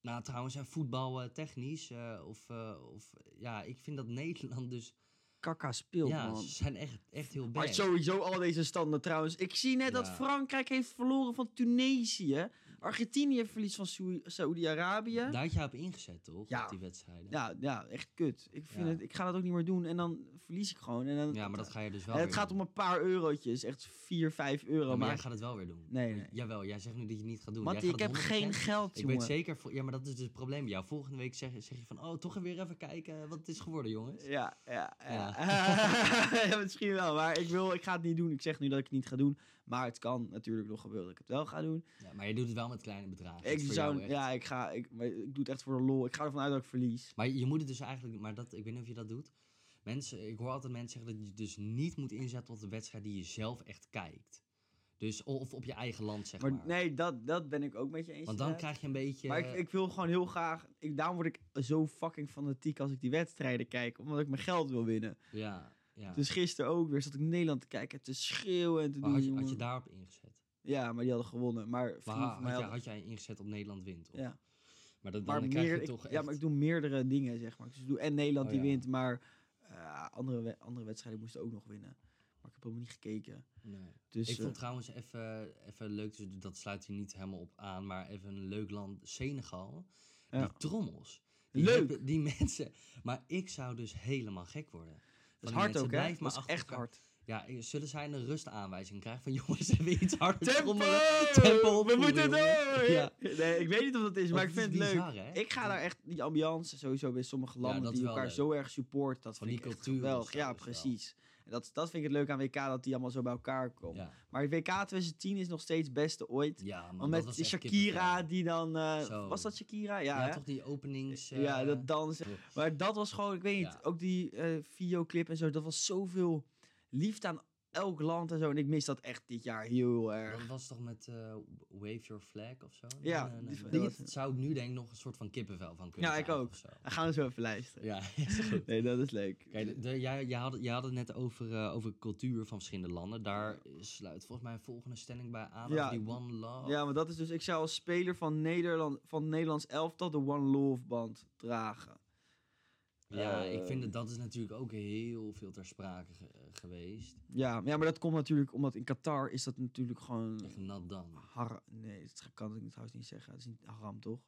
Speaker 1: Nou, trouwens, en voetbaltechnisch, eh of, eh, of ja, ik vind dat Nederland dus.
Speaker 2: Kakka speelt,
Speaker 1: ja,
Speaker 2: man.
Speaker 1: ze zijn echt, echt heel
Speaker 2: Maar
Speaker 1: bad.
Speaker 2: sowieso al deze standen trouwens. Ik zie net dat
Speaker 1: Ja.
Speaker 2: Frankrijk heeft verloren van Tunesië. Argentinië verliest van Saoe- Saoedi-Arabië.
Speaker 1: Daar had jij op ingezet, toch?
Speaker 2: Ja.
Speaker 1: Op die wedstrijden.
Speaker 2: Ja, ja, echt kut. Ik, vind
Speaker 1: Ja.
Speaker 2: het, ik ga dat ook niet meer doen. En dan verlies ik gewoon. En dan,
Speaker 1: Ja, maar dat ga je dus wel.
Speaker 2: en het
Speaker 1: weer
Speaker 2: gaat
Speaker 1: doen.
Speaker 2: om een paar eurotjes. Echt 4, 5 euro.
Speaker 1: Ja, maar jij
Speaker 2: maar
Speaker 1: gaat het wel weer doen.
Speaker 2: Nee,
Speaker 1: Want-
Speaker 2: nee.
Speaker 1: Jawel, jij zegt nu dat je het niet gaat doen.
Speaker 2: Mattie,
Speaker 1: jij
Speaker 2: ik
Speaker 1: gaat
Speaker 2: heb
Speaker 1: het 100%
Speaker 2: geen geld,
Speaker 1: Ik weet
Speaker 2: jongen.
Speaker 1: zeker, voor- ja, maar dat is dus het probleem bij jou. Volgende week zeg, zeg je van, oh, toch weer even kijken wat het is geworden, jongens.
Speaker 2: Ja, ja, ja.
Speaker 1: Ja.
Speaker 2: [LAUGHS] Ja, misschien wel. Maar ik, wil, ik ga het niet doen. Ik zeg nu dat ik het niet ga doen. Maar het kan natuurlijk nog gebeuren dat ik het wel ga doen.
Speaker 1: Ja, maar je doet het wel met kleine bedragen. Dat
Speaker 2: Ik
Speaker 1: is voor jou
Speaker 2: zou,
Speaker 1: echt-
Speaker 2: ja, ik ga, ik, maar ik doe het echt voor de lol. Ik ga ervan uit dat ik verlies.
Speaker 1: Maar je moet het dus eigenlijk, maar dat, ik weet niet of je dat doet. Mensen, ik hoor altijd mensen zeggen dat je dus niet moet inzetten op de wedstrijd die je zelf echt kijkt. Dus o- of op je eigen land, zeg maar.
Speaker 2: Maar nee, dat, dat ben ik ook met je eens.
Speaker 1: Want dan
Speaker 2: inderdaad.
Speaker 1: krijg je een beetje.
Speaker 2: Maar ik, ik wil gewoon heel graag. Ik, daarom word ik zo fucking fanatiek als ik die wedstrijden kijk. Omdat ik mijn geld wil winnen.
Speaker 1: ja, ja.
Speaker 2: Dus gisteren ook weer zat ik Nederland te kijken, te schreeuwen en te
Speaker 1: maar
Speaker 2: doen.
Speaker 1: had je, had je
Speaker 2: jongen.
Speaker 1: daarop ingezet?
Speaker 2: Ja, maar die hadden gewonnen. Maar,
Speaker 1: Maar
Speaker 2: vrienden
Speaker 1: ha-
Speaker 2: van mij
Speaker 1: had, je,
Speaker 2: hadden-
Speaker 1: had jij ingezet op Nederland wint? Of?
Speaker 2: Ja.
Speaker 1: Maar dat, dan
Speaker 2: maar
Speaker 1: krijg
Speaker 2: meer,
Speaker 1: je
Speaker 2: ik-
Speaker 1: toch echt...
Speaker 2: ja, maar ik doe meerdere dingen, zeg maar. Dus ik doe en Nederland
Speaker 1: Oh,
Speaker 2: die
Speaker 1: ja.
Speaker 2: wint, maar eh, andere, we- andere wedstrijden moesten ook nog winnen. Maar ik heb helemaal niet gekeken.
Speaker 1: Nee.
Speaker 2: Dus
Speaker 1: ik
Speaker 2: eh,
Speaker 1: vond trouwens even, even leuk, dus dat sluit hier niet helemaal op aan, maar even een leuk land, Senegal.
Speaker 2: Ja.
Speaker 1: Die trommels. Die
Speaker 2: Leuk!
Speaker 1: hippe- die [LAUGHS] mensen. Maar ik zou dus helemaal gek worden.
Speaker 2: dat is
Speaker 1: die
Speaker 2: hard
Speaker 1: mensen
Speaker 2: ook, hè?
Speaker 1: blijven maar
Speaker 2: Dat is
Speaker 1: achter
Speaker 2: echt
Speaker 1: elkaar.
Speaker 2: hard.
Speaker 1: Ja, eh, zullen zij een rustaanwijzing krijgen van jongens, [LAUGHS] even iets harder
Speaker 2: Tempo!
Speaker 1: trommelen? [LAUGHS] Tempo
Speaker 2: We
Speaker 1: opvoeren,
Speaker 2: moeten
Speaker 1: jongen.
Speaker 2: door!
Speaker 1: Ja.
Speaker 2: Nee, ik weet niet of dat is, maar
Speaker 1: Want
Speaker 2: ik vind
Speaker 1: is
Speaker 2: het leuk.
Speaker 1: bizar, hè?
Speaker 2: Ik ga daar echt, die ambiance sowieso bij sommige
Speaker 1: Ja,
Speaker 2: landen
Speaker 1: dat
Speaker 2: die
Speaker 1: is wel
Speaker 2: elkaar
Speaker 1: leuk.
Speaker 2: zo erg supporten, dat
Speaker 1: Van
Speaker 2: vind
Speaker 1: die
Speaker 2: ik echt
Speaker 1: cultuur en
Speaker 2: geweldig.
Speaker 1: zo
Speaker 2: Ja,
Speaker 1: is dus wel.
Speaker 2: precies. En dat, dat vind ik het leuk aan WK, dat die allemaal zo bij elkaar komen.
Speaker 1: Ja,
Speaker 2: Maar het WK 2010 is nog steeds het beste ooit.
Speaker 1: ja man,
Speaker 2: Want
Speaker 1: dat
Speaker 2: met
Speaker 1: was
Speaker 2: die
Speaker 1: echt
Speaker 2: Shakira
Speaker 1: kippenvel.
Speaker 2: die dan... eh,
Speaker 1: Zo.
Speaker 2: was dat Shakira? Ja,
Speaker 1: Ja,
Speaker 2: hè?
Speaker 1: toch die openings... eh,
Speaker 2: ja, dat dansen. Maar dat was gewoon, ik weet niet,
Speaker 1: Ja.
Speaker 2: ook die eh, videoclip en zo. Dat was zoveel liefde aan elk land en zo. En ik mis dat echt dit jaar heel erg.
Speaker 1: Dat was toch met eh, Wave Your Flag of zo?
Speaker 2: Ja,
Speaker 1: Nee, nee,
Speaker 2: die-
Speaker 1: nee.
Speaker 2: die-
Speaker 1: Dat zou ik nu denk ik nog een soort van kippenvel van kunnen
Speaker 2: Ja, ik
Speaker 1: krijgen
Speaker 2: ook.
Speaker 1: of zo.
Speaker 2: Dan gaan we zo even luisteren.
Speaker 1: Ja, [LAUGHS] is goed.
Speaker 2: Nee, dat is leuk.
Speaker 1: Kijk, de- de- jij, jij, had, het- jij had het net over, eh, over cultuur van verschillende landen. Daar sluit volgens mij een volgende stelling bij aan.
Speaker 2: Ja,
Speaker 1: over die One Love.
Speaker 2: Ja, maar dat is dus, ik zou als speler van, Nederland, van het Nederlands elftal de One Love band dragen.
Speaker 1: Ja, ik vind
Speaker 2: Ehm.
Speaker 1: dat dat is natuurlijk ook heel veel ter sprake ge- eh, geweest.
Speaker 2: Ja, maar- ja, maar dat komt natuurlijk omdat in Qatar is dat natuurlijk gewoon...
Speaker 1: Echt nat dan.
Speaker 2: Har nee, dat kan ik trouwens niet zeggen. Het is niet haram, toch?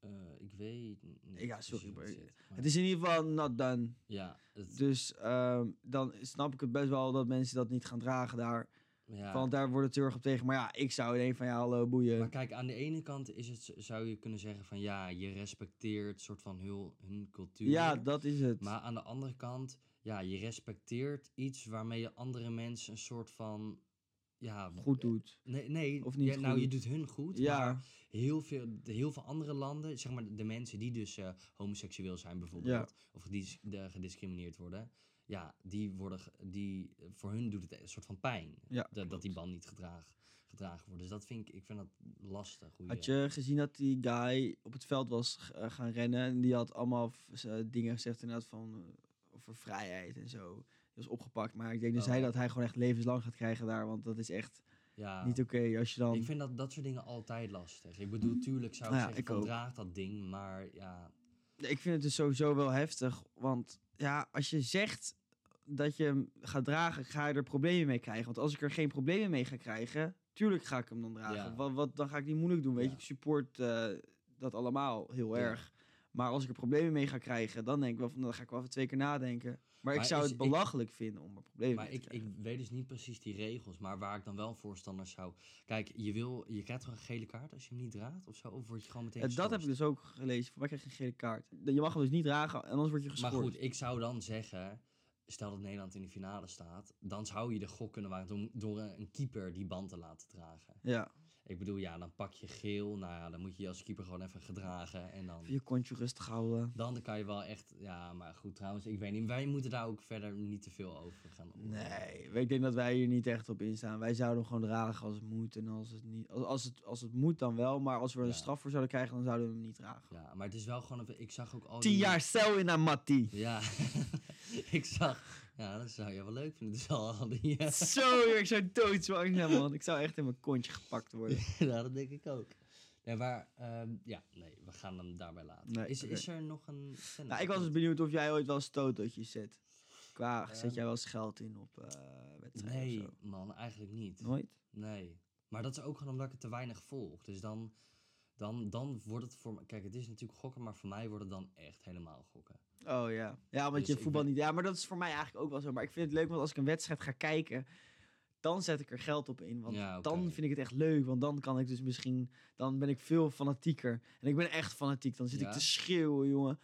Speaker 1: Oh. Eh, ik weet niet.
Speaker 2: Ja,
Speaker 1: precies
Speaker 2: sorry,
Speaker 1: hoe
Speaker 2: maar-
Speaker 1: het zit, maar-
Speaker 2: Het is in ieder geval not done.
Speaker 1: Ja, het,
Speaker 2: Dus ehm, dan snap ik het best wel dat mensen dat niet gaan dragen daar.
Speaker 1: ja.
Speaker 2: Want daar wordt het heel erg op tegen. Maar ja, ik zou in één van ja, hallo boeien.
Speaker 1: Maar kijk, aan de ene kant is het, zou je kunnen zeggen van ja, je respecteert soort van heel hun cultuur.
Speaker 2: ja, dat is het.
Speaker 1: Maar aan de andere kant, ja, je respecteert iets waarmee je andere mensen een soort van. Ja,
Speaker 2: Goed doet.
Speaker 1: Nee, nee
Speaker 2: Of niet
Speaker 1: ja, nou,
Speaker 2: goed
Speaker 1: je
Speaker 2: doet.
Speaker 1: doet hun goed. Maar
Speaker 2: Ja,
Speaker 1: heel veel, de- heel veel andere landen, zeg maar de mensen die dus eh, homoseksueel zijn bijvoorbeeld, of die s- de- gediscrimineerd worden, ja, die worden, ge- die, voor hun doet het een soort van pijn.
Speaker 2: Ja,
Speaker 1: dat- dat die band niet gedragen, gedragen wordt. Dus dat vind ik, ik vind dat lastig. Hoe
Speaker 2: had je gezien dat die guy op het veld was g- eh, gaan rennen. En die had allemaal v- z- eh, dingen gezegd inderdaad van eh, over vrijheid en zo. Die was opgepakt. Maar ik denk dus
Speaker 1: Oh.
Speaker 2: hij dat hij gewoon echt levenslang gaat krijgen daar. Want dat is echt
Speaker 1: ja,
Speaker 2: niet oké als je dan...
Speaker 1: Ik vind dat, dat soort dingen altijd lastig. Ik bedoel, tuurlijk zou ik
Speaker 2: Nou ja,
Speaker 1: zeggen,
Speaker 2: ik
Speaker 1: van,
Speaker 2: ook.
Speaker 1: draag dat ding, maar ja...
Speaker 2: Ja, Ik vind het dus sowieso wel heftig. Want ja, als je zegt dat je hem gaat dragen, ga je er problemen mee krijgen. Want als ik er geen problemen mee ga krijgen, tuurlijk ga ik hem dan dragen.
Speaker 1: Ja.
Speaker 2: Wat, wat, dan ga ik niet moeilijk doen, weet
Speaker 1: Ja.
Speaker 2: je. Ik support eh, dat allemaal heel
Speaker 1: Ja.
Speaker 2: erg. Maar als ik er problemen mee ga krijgen, dan denk ik wel van, dan ga ik wel even twee keer nadenken. Maar, ik
Speaker 1: Maar
Speaker 2: zou
Speaker 1: is-
Speaker 2: het
Speaker 1: ik-
Speaker 2: belachelijk vinden om er problemen
Speaker 1: Maar
Speaker 2: mee te
Speaker 1: ik, ik
Speaker 2: krijgen.
Speaker 1: weet dus niet precies die regels, maar waar ik dan wel voorstander zou... Kijk, je, wil, je krijgt toch een gele kaart als je hem niet draagt of zo? Of word je gewoon meteen
Speaker 2: Ja, dat heb ik
Speaker 1: geschorst?
Speaker 2: dus ook gelezen. Voor mij krijg je geen gele kaart. Je mag hem dus niet dragen, anders word je
Speaker 1: Maar
Speaker 2: geschorst.
Speaker 1: goed, ik zou dan zeggen, stel dat Nederland in de finale staat, dan zou je de gok kunnen wagen om door een een keeper die band te laten dragen.
Speaker 2: Ja,
Speaker 1: Ik bedoel, ja, dan pak je geel, nou ja, dan moet je je als keeper gewoon even gedragen en dan...
Speaker 2: je kontje rustig houden.
Speaker 1: Dan kan je wel echt, ja, maar goed, trouwens, ik weet niet. Wij moeten daar ook verder niet te veel over gaan. oordelen.
Speaker 2: Nee, ik denk dat wij hier niet echt op instaan. Wij zouden hem gewoon dragen als het moet. En als het niet. Als, als, het, als het moet, dan wel. Maar als we er een
Speaker 1: Ja.
Speaker 2: straf voor zouden krijgen, dan zouden we hem niet dragen.
Speaker 1: Ja, maar het is wel gewoon. een- Ik zag ook al.
Speaker 2: Tien
Speaker 1: die-
Speaker 2: jaar cel in aan
Speaker 1: [LAUGHS]
Speaker 2: Mattie.
Speaker 1: Ja, ik zag. Ja, dat zou je wel leuk vinden. Dus al, al die. [LAUGHS] eh,
Speaker 2: Zo, ik zou doodzwang zijn, man. Ik zou echt in mijn kontje gepakt worden.
Speaker 1: ja, dat denk ik ook. Nee, waar, ehm, ja, nee, we gaan hem daarbij laten.
Speaker 2: Nee,
Speaker 1: is,
Speaker 2: oké.
Speaker 1: is er nog een tennis?
Speaker 2: Nou, ik was dus benieuwd of jij ooit wel eens tototjes zet. Qua, zet
Speaker 1: Ehm.
Speaker 2: jij wel eens geld in op eh wedstrijden
Speaker 1: Nee,
Speaker 2: of
Speaker 1: man, eigenlijk niet.
Speaker 2: zo? Nooit?
Speaker 1: Nee. Maar dat is ook gewoon omdat ik het te weinig volg. Dus dan, dan, dan wordt het voor me... Kijk, het is natuurlijk gokken, maar voor mij wordt het dan echt helemaal gokken.
Speaker 2: Oh ja. Ja, omdat
Speaker 1: Dus
Speaker 2: je
Speaker 1: ik
Speaker 2: voetbal
Speaker 1: ben-
Speaker 2: niet... Ja, maar dat is voor mij eigenlijk ook wel zo. Maar ik vind het leuk, want als ik een wedstrijd ga kijken... Dan zet ik er geld op in. Want
Speaker 1: Ja,
Speaker 2: dan
Speaker 1: oké.
Speaker 2: vind ik het echt leuk. Want dan kan ik dus misschien... Dan ben ik veel fanatieker. En ik ben echt fanatiek. Dan zit
Speaker 1: Ja?
Speaker 2: ik te schreeuwen, jongen.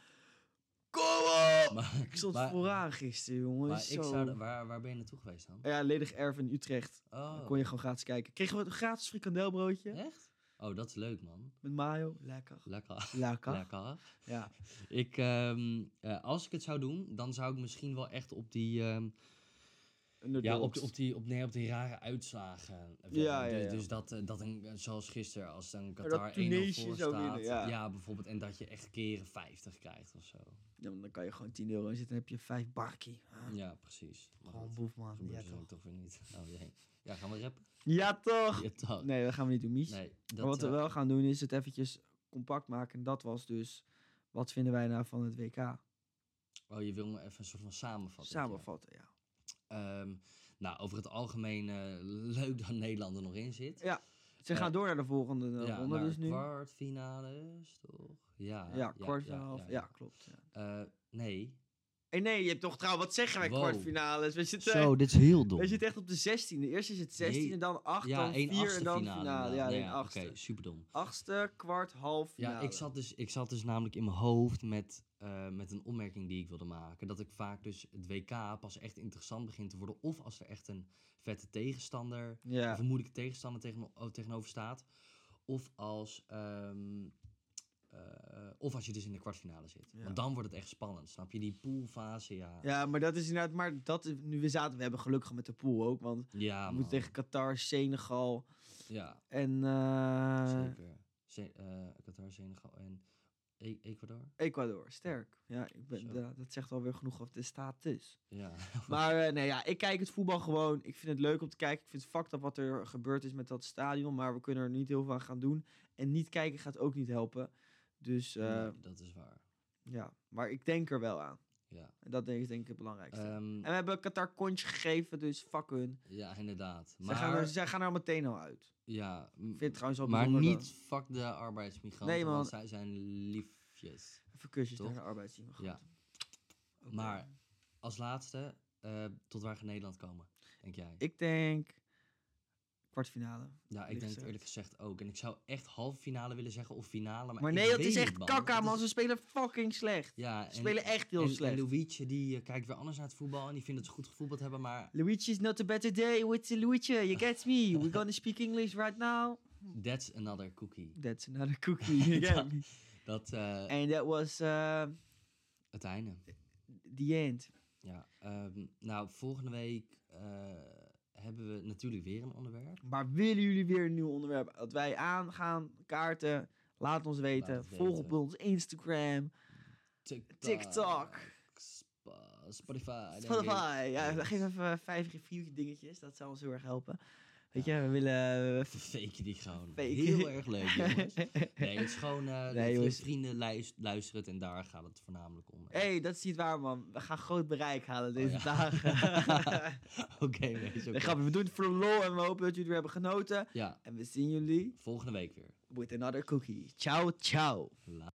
Speaker 2: Kom op!
Speaker 1: Maar,
Speaker 2: ik stond
Speaker 1: maar-
Speaker 2: vooraan gisteren, jongen.
Speaker 1: maar
Speaker 2: zo.
Speaker 1: ik zou... Waar, waar ben je naartoe geweest dan?
Speaker 2: Ja, ledig erf in Utrecht.
Speaker 1: Oh,
Speaker 2: Dan kon je gewoon gratis kijken. Kregen we een gratis frikandelbroodje.
Speaker 1: echt? Oh, dat is leuk, man.
Speaker 2: Met mayo. Lekker.
Speaker 1: Lekker.
Speaker 2: Lekker.
Speaker 1: Lekker.
Speaker 2: Ja.
Speaker 1: Ik, ehm, eh, als ik het zou doen, dan zou ik misschien wel echt op die... ehm, Ja, op,
Speaker 2: underdogs.
Speaker 1: die- op, die, op, nee, op die rare uitslagen. wel.
Speaker 2: Ja, ja,
Speaker 1: Dus-
Speaker 2: ja.
Speaker 1: Dus dat, eh, dat een, zoals gisteren, als dan
Speaker 2: dat
Speaker 1: Qatar 1-0
Speaker 2: Tunesië
Speaker 1: voor
Speaker 2: zou
Speaker 1: staat.
Speaker 2: winnen,
Speaker 1: ja.
Speaker 2: ja.
Speaker 1: bijvoorbeeld. En dat je echt keren 50 krijgt of zo.
Speaker 2: Ja, maar dan kan je gewoon 10 euro inzetten. Dan heb je 5 barkie. Ah,
Speaker 1: Ja, precies. Maar
Speaker 2: Gewoon
Speaker 1: goed,
Speaker 2: boef, man. Ja,
Speaker 1: gebeurt zo
Speaker 2: toch.
Speaker 1: toch weer niet. [LAUGHS] Oh, jee. Ja, gaan we rappen?
Speaker 2: Ja, toch?
Speaker 1: Ja, toch. Nee,
Speaker 2: Ah, Nee, dat gaan we niet doen, Mies.
Speaker 1: dat,
Speaker 2: maar wat we
Speaker 1: eh,
Speaker 2: wel gaan doen is het eventjes compact maken. En dat was dus, wat vinden wij nou van het WK?
Speaker 1: Oh, je wil me even een soort van samenvatting.
Speaker 2: eh, Samenvatten, ja.
Speaker 1: Ja. Ehm, nou, over het algemeen eh, leuk dat Nederland er nog in zit.
Speaker 2: Ja, Ze
Speaker 1: Eh,
Speaker 2: gaan door naar de volgende eh,
Speaker 1: Ja,
Speaker 2: ronde
Speaker 1: naar
Speaker 2: dus nu.
Speaker 1: kwartfinales, toch? Ja,
Speaker 2: ja, kwartfinale. Ja,
Speaker 1: ja.
Speaker 2: klopt. Ja.
Speaker 1: Eh, nee.
Speaker 2: Eh, nee, je hebt toch trouw, wat zeggen wij
Speaker 1: Wow.
Speaker 2: kwartfinales? We zitten,
Speaker 1: Zo, dit is heel dom.
Speaker 2: we zitten echt op de 16e. Eerst is het 16 en dan 8,
Speaker 1: ja,
Speaker 2: dan
Speaker 1: één
Speaker 2: 4 en
Speaker 1: achtste
Speaker 2: dan
Speaker 1: finale.
Speaker 2: finale. Ja,
Speaker 1: inderdaad.
Speaker 2: één
Speaker 1: Oké,
Speaker 2: achtste.
Speaker 1: superdom.
Speaker 2: Achtste, kwart, half
Speaker 1: Ja, ik zat, dus, ik zat dus namelijk in mijn hoofd met, eh, met een opmerking die ik wilde maken. Dat ik vaak dus het WK pas echt interessant begint te worden. Of als er echt een vette tegenstander,
Speaker 2: Ja,
Speaker 1: of een moeilijke tegenstander tegen, oh, tegenover staat. Of als, ehm, eh, of als je dus in de kwartfinale zit.
Speaker 2: Ja.
Speaker 1: Want dan wordt het echt spannend, snap je? Die poolfase, ja.
Speaker 2: ja, maar dat is inderdaad... Maar dat, is- nu we zaten, we hebben gelukkig met de pool ook, want...
Speaker 1: Ja,
Speaker 2: We
Speaker 1: Ah, man.
Speaker 2: moeten tegen Qatar, Senegal
Speaker 1: Ja,
Speaker 2: en eh,
Speaker 1: zeker. Ze- eh, Qatar, Senegal en E- Ecuador.
Speaker 2: Ecuador. Sterk. Ja, ik ben,
Speaker 1: Zo.
Speaker 2: da- dat zegt alweer genoeg over de
Speaker 1: [LAUGHS]
Speaker 2: status. [LAUGHS]
Speaker 1: Ja.
Speaker 2: Maar eh, nee, ja, ik kijk het voetbal gewoon. Ik vind het leuk om te kijken. Ik vind het fucked up wat er gebeurd is met dat stadion. Maar we kunnen er niet heel veel aan gaan doen. En niet kijken gaat ook niet helpen. Dus eh,
Speaker 1: Nee, dat is waar.
Speaker 2: ja, maar ik denk er wel aan.
Speaker 1: Ja.
Speaker 2: En dat denk ik, denk ik het belangrijkste.
Speaker 1: Ehm,
Speaker 2: en we hebben Qatar kontje gegeven, dus fuck hun.
Speaker 1: ja, inderdaad.
Speaker 2: Zij, gaan
Speaker 1: Maar,
Speaker 2: er, zij gaan er meteen al uit.
Speaker 1: ja, m-
Speaker 2: Ik vind het trouwens wel
Speaker 1: maar
Speaker 2: bijzonder
Speaker 1: niet fuck de arbeidsmigranten,
Speaker 2: Nee, man.
Speaker 1: want zij zijn liefjes.
Speaker 2: dat- Even kusjes
Speaker 1: Toch?
Speaker 2: naar de arbeidsteam.
Speaker 1: Ja. Maar als laatste, eh, tot waar gaat Nederland komen, denk jij?
Speaker 2: Ik denk kwartfinale.
Speaker 1: ja, ik
Speaker 2: eerlijk
Speaker 1: denk het
Speaker 2: gezegd.
Speaker 1: eerlijk gezegd ook. En ik zou echt halve finale willen zeggen of finale, maar
Speaker 2: Maar
Speaker 1: ik
Speaker 2: nee, dat
Speaker 1: weet
Speaker 2: is
Speaker 1: het,
Speaker 2: echt
Speaker 1: man.
Speaker 2: kakka,
Speaker 1: Dat
Speaker 2: man.
Speaker 1: is-
Speaker 2: Ze spelen fucking slecht.
Speaker 1: Ja,
Speaker 2: Ze spelen echt heel
Speaker 1: en,
Speaker 2: slecht.
Speaker 1: En Luigi, die eh, kijkt weer anders naar het voetbal en die vindt dat ze goed gevoetbald hebben, maar
Speaker 2: Luigi's not a better day with Luigi.
Speaker 1: [LAUGHS]
Speaker 2: You get me. We're gonna speak English right now.
Speaker 1: that's another cookie.
Speaker 2: That's another cookie.
Speaker 1: [LAUGHS]
Speaker 2: You get me.
Speaker 1: Dat, eh,
Speaker 2: And that was eh,
Speaker 1: het einde.
Speaker 2: the end.
Speaker 1: Ja, ehm, nou, volgende week eh, hebben we natuurlijk weer een onderwerp.
Speaker 2: Maar willen jullie weer een nieuw onderwerp? Dat wij aangaan, kaarten, laat ons weten.
Speaker 1: het
Speaker 2: Volg
Speaker 1: weten.
Speaker 2: op ons Instagram,
Speaker 1: TikTok.
Speaker 2: TikTok.
Speaker 1: Spa- Spotify. denk ik.
Speaker 2: Spotify. Ja,
Speaker 1: Yes.
Speaker 2: geef even eh, vijf review dingetjes. Dat zou ons heel erg helpen. Weet je, we
Speaker 1: [LAUGHS]
Speaker 2: willen... eh,
Speaker 1: Even faken die gewoon.
Speaker 2: Faken.
Speaker 1: Heel erg leuk, jongens. Nee, het is gewoon eh, dat je
Speaker 2: jongens.
Speaker 1: vrienden luis- luisteren het en daar gaat het voornamelijk om.
Speaker 2: Hé, [LAUGHS] hey, dat is niet waar, man. We gaan groot bereik halen deze
Speaker 1: Oh, ja. [LAUGHS]
Speaker 2: dagen. [LAUGHS]
Speaker 1: Oké, [LAUGHS] nee, is oké.
Speaker 2: nee, grapje, we doen het voor de lol en we hopen dat jullie er hebben genoten.
Speaker 1: Ja,
Speaker 2: En we zien jullie
Speaker 1: volgende week weer.
Speaker 2: with another cookie. Ciao, ciao.
Speaker 1: La-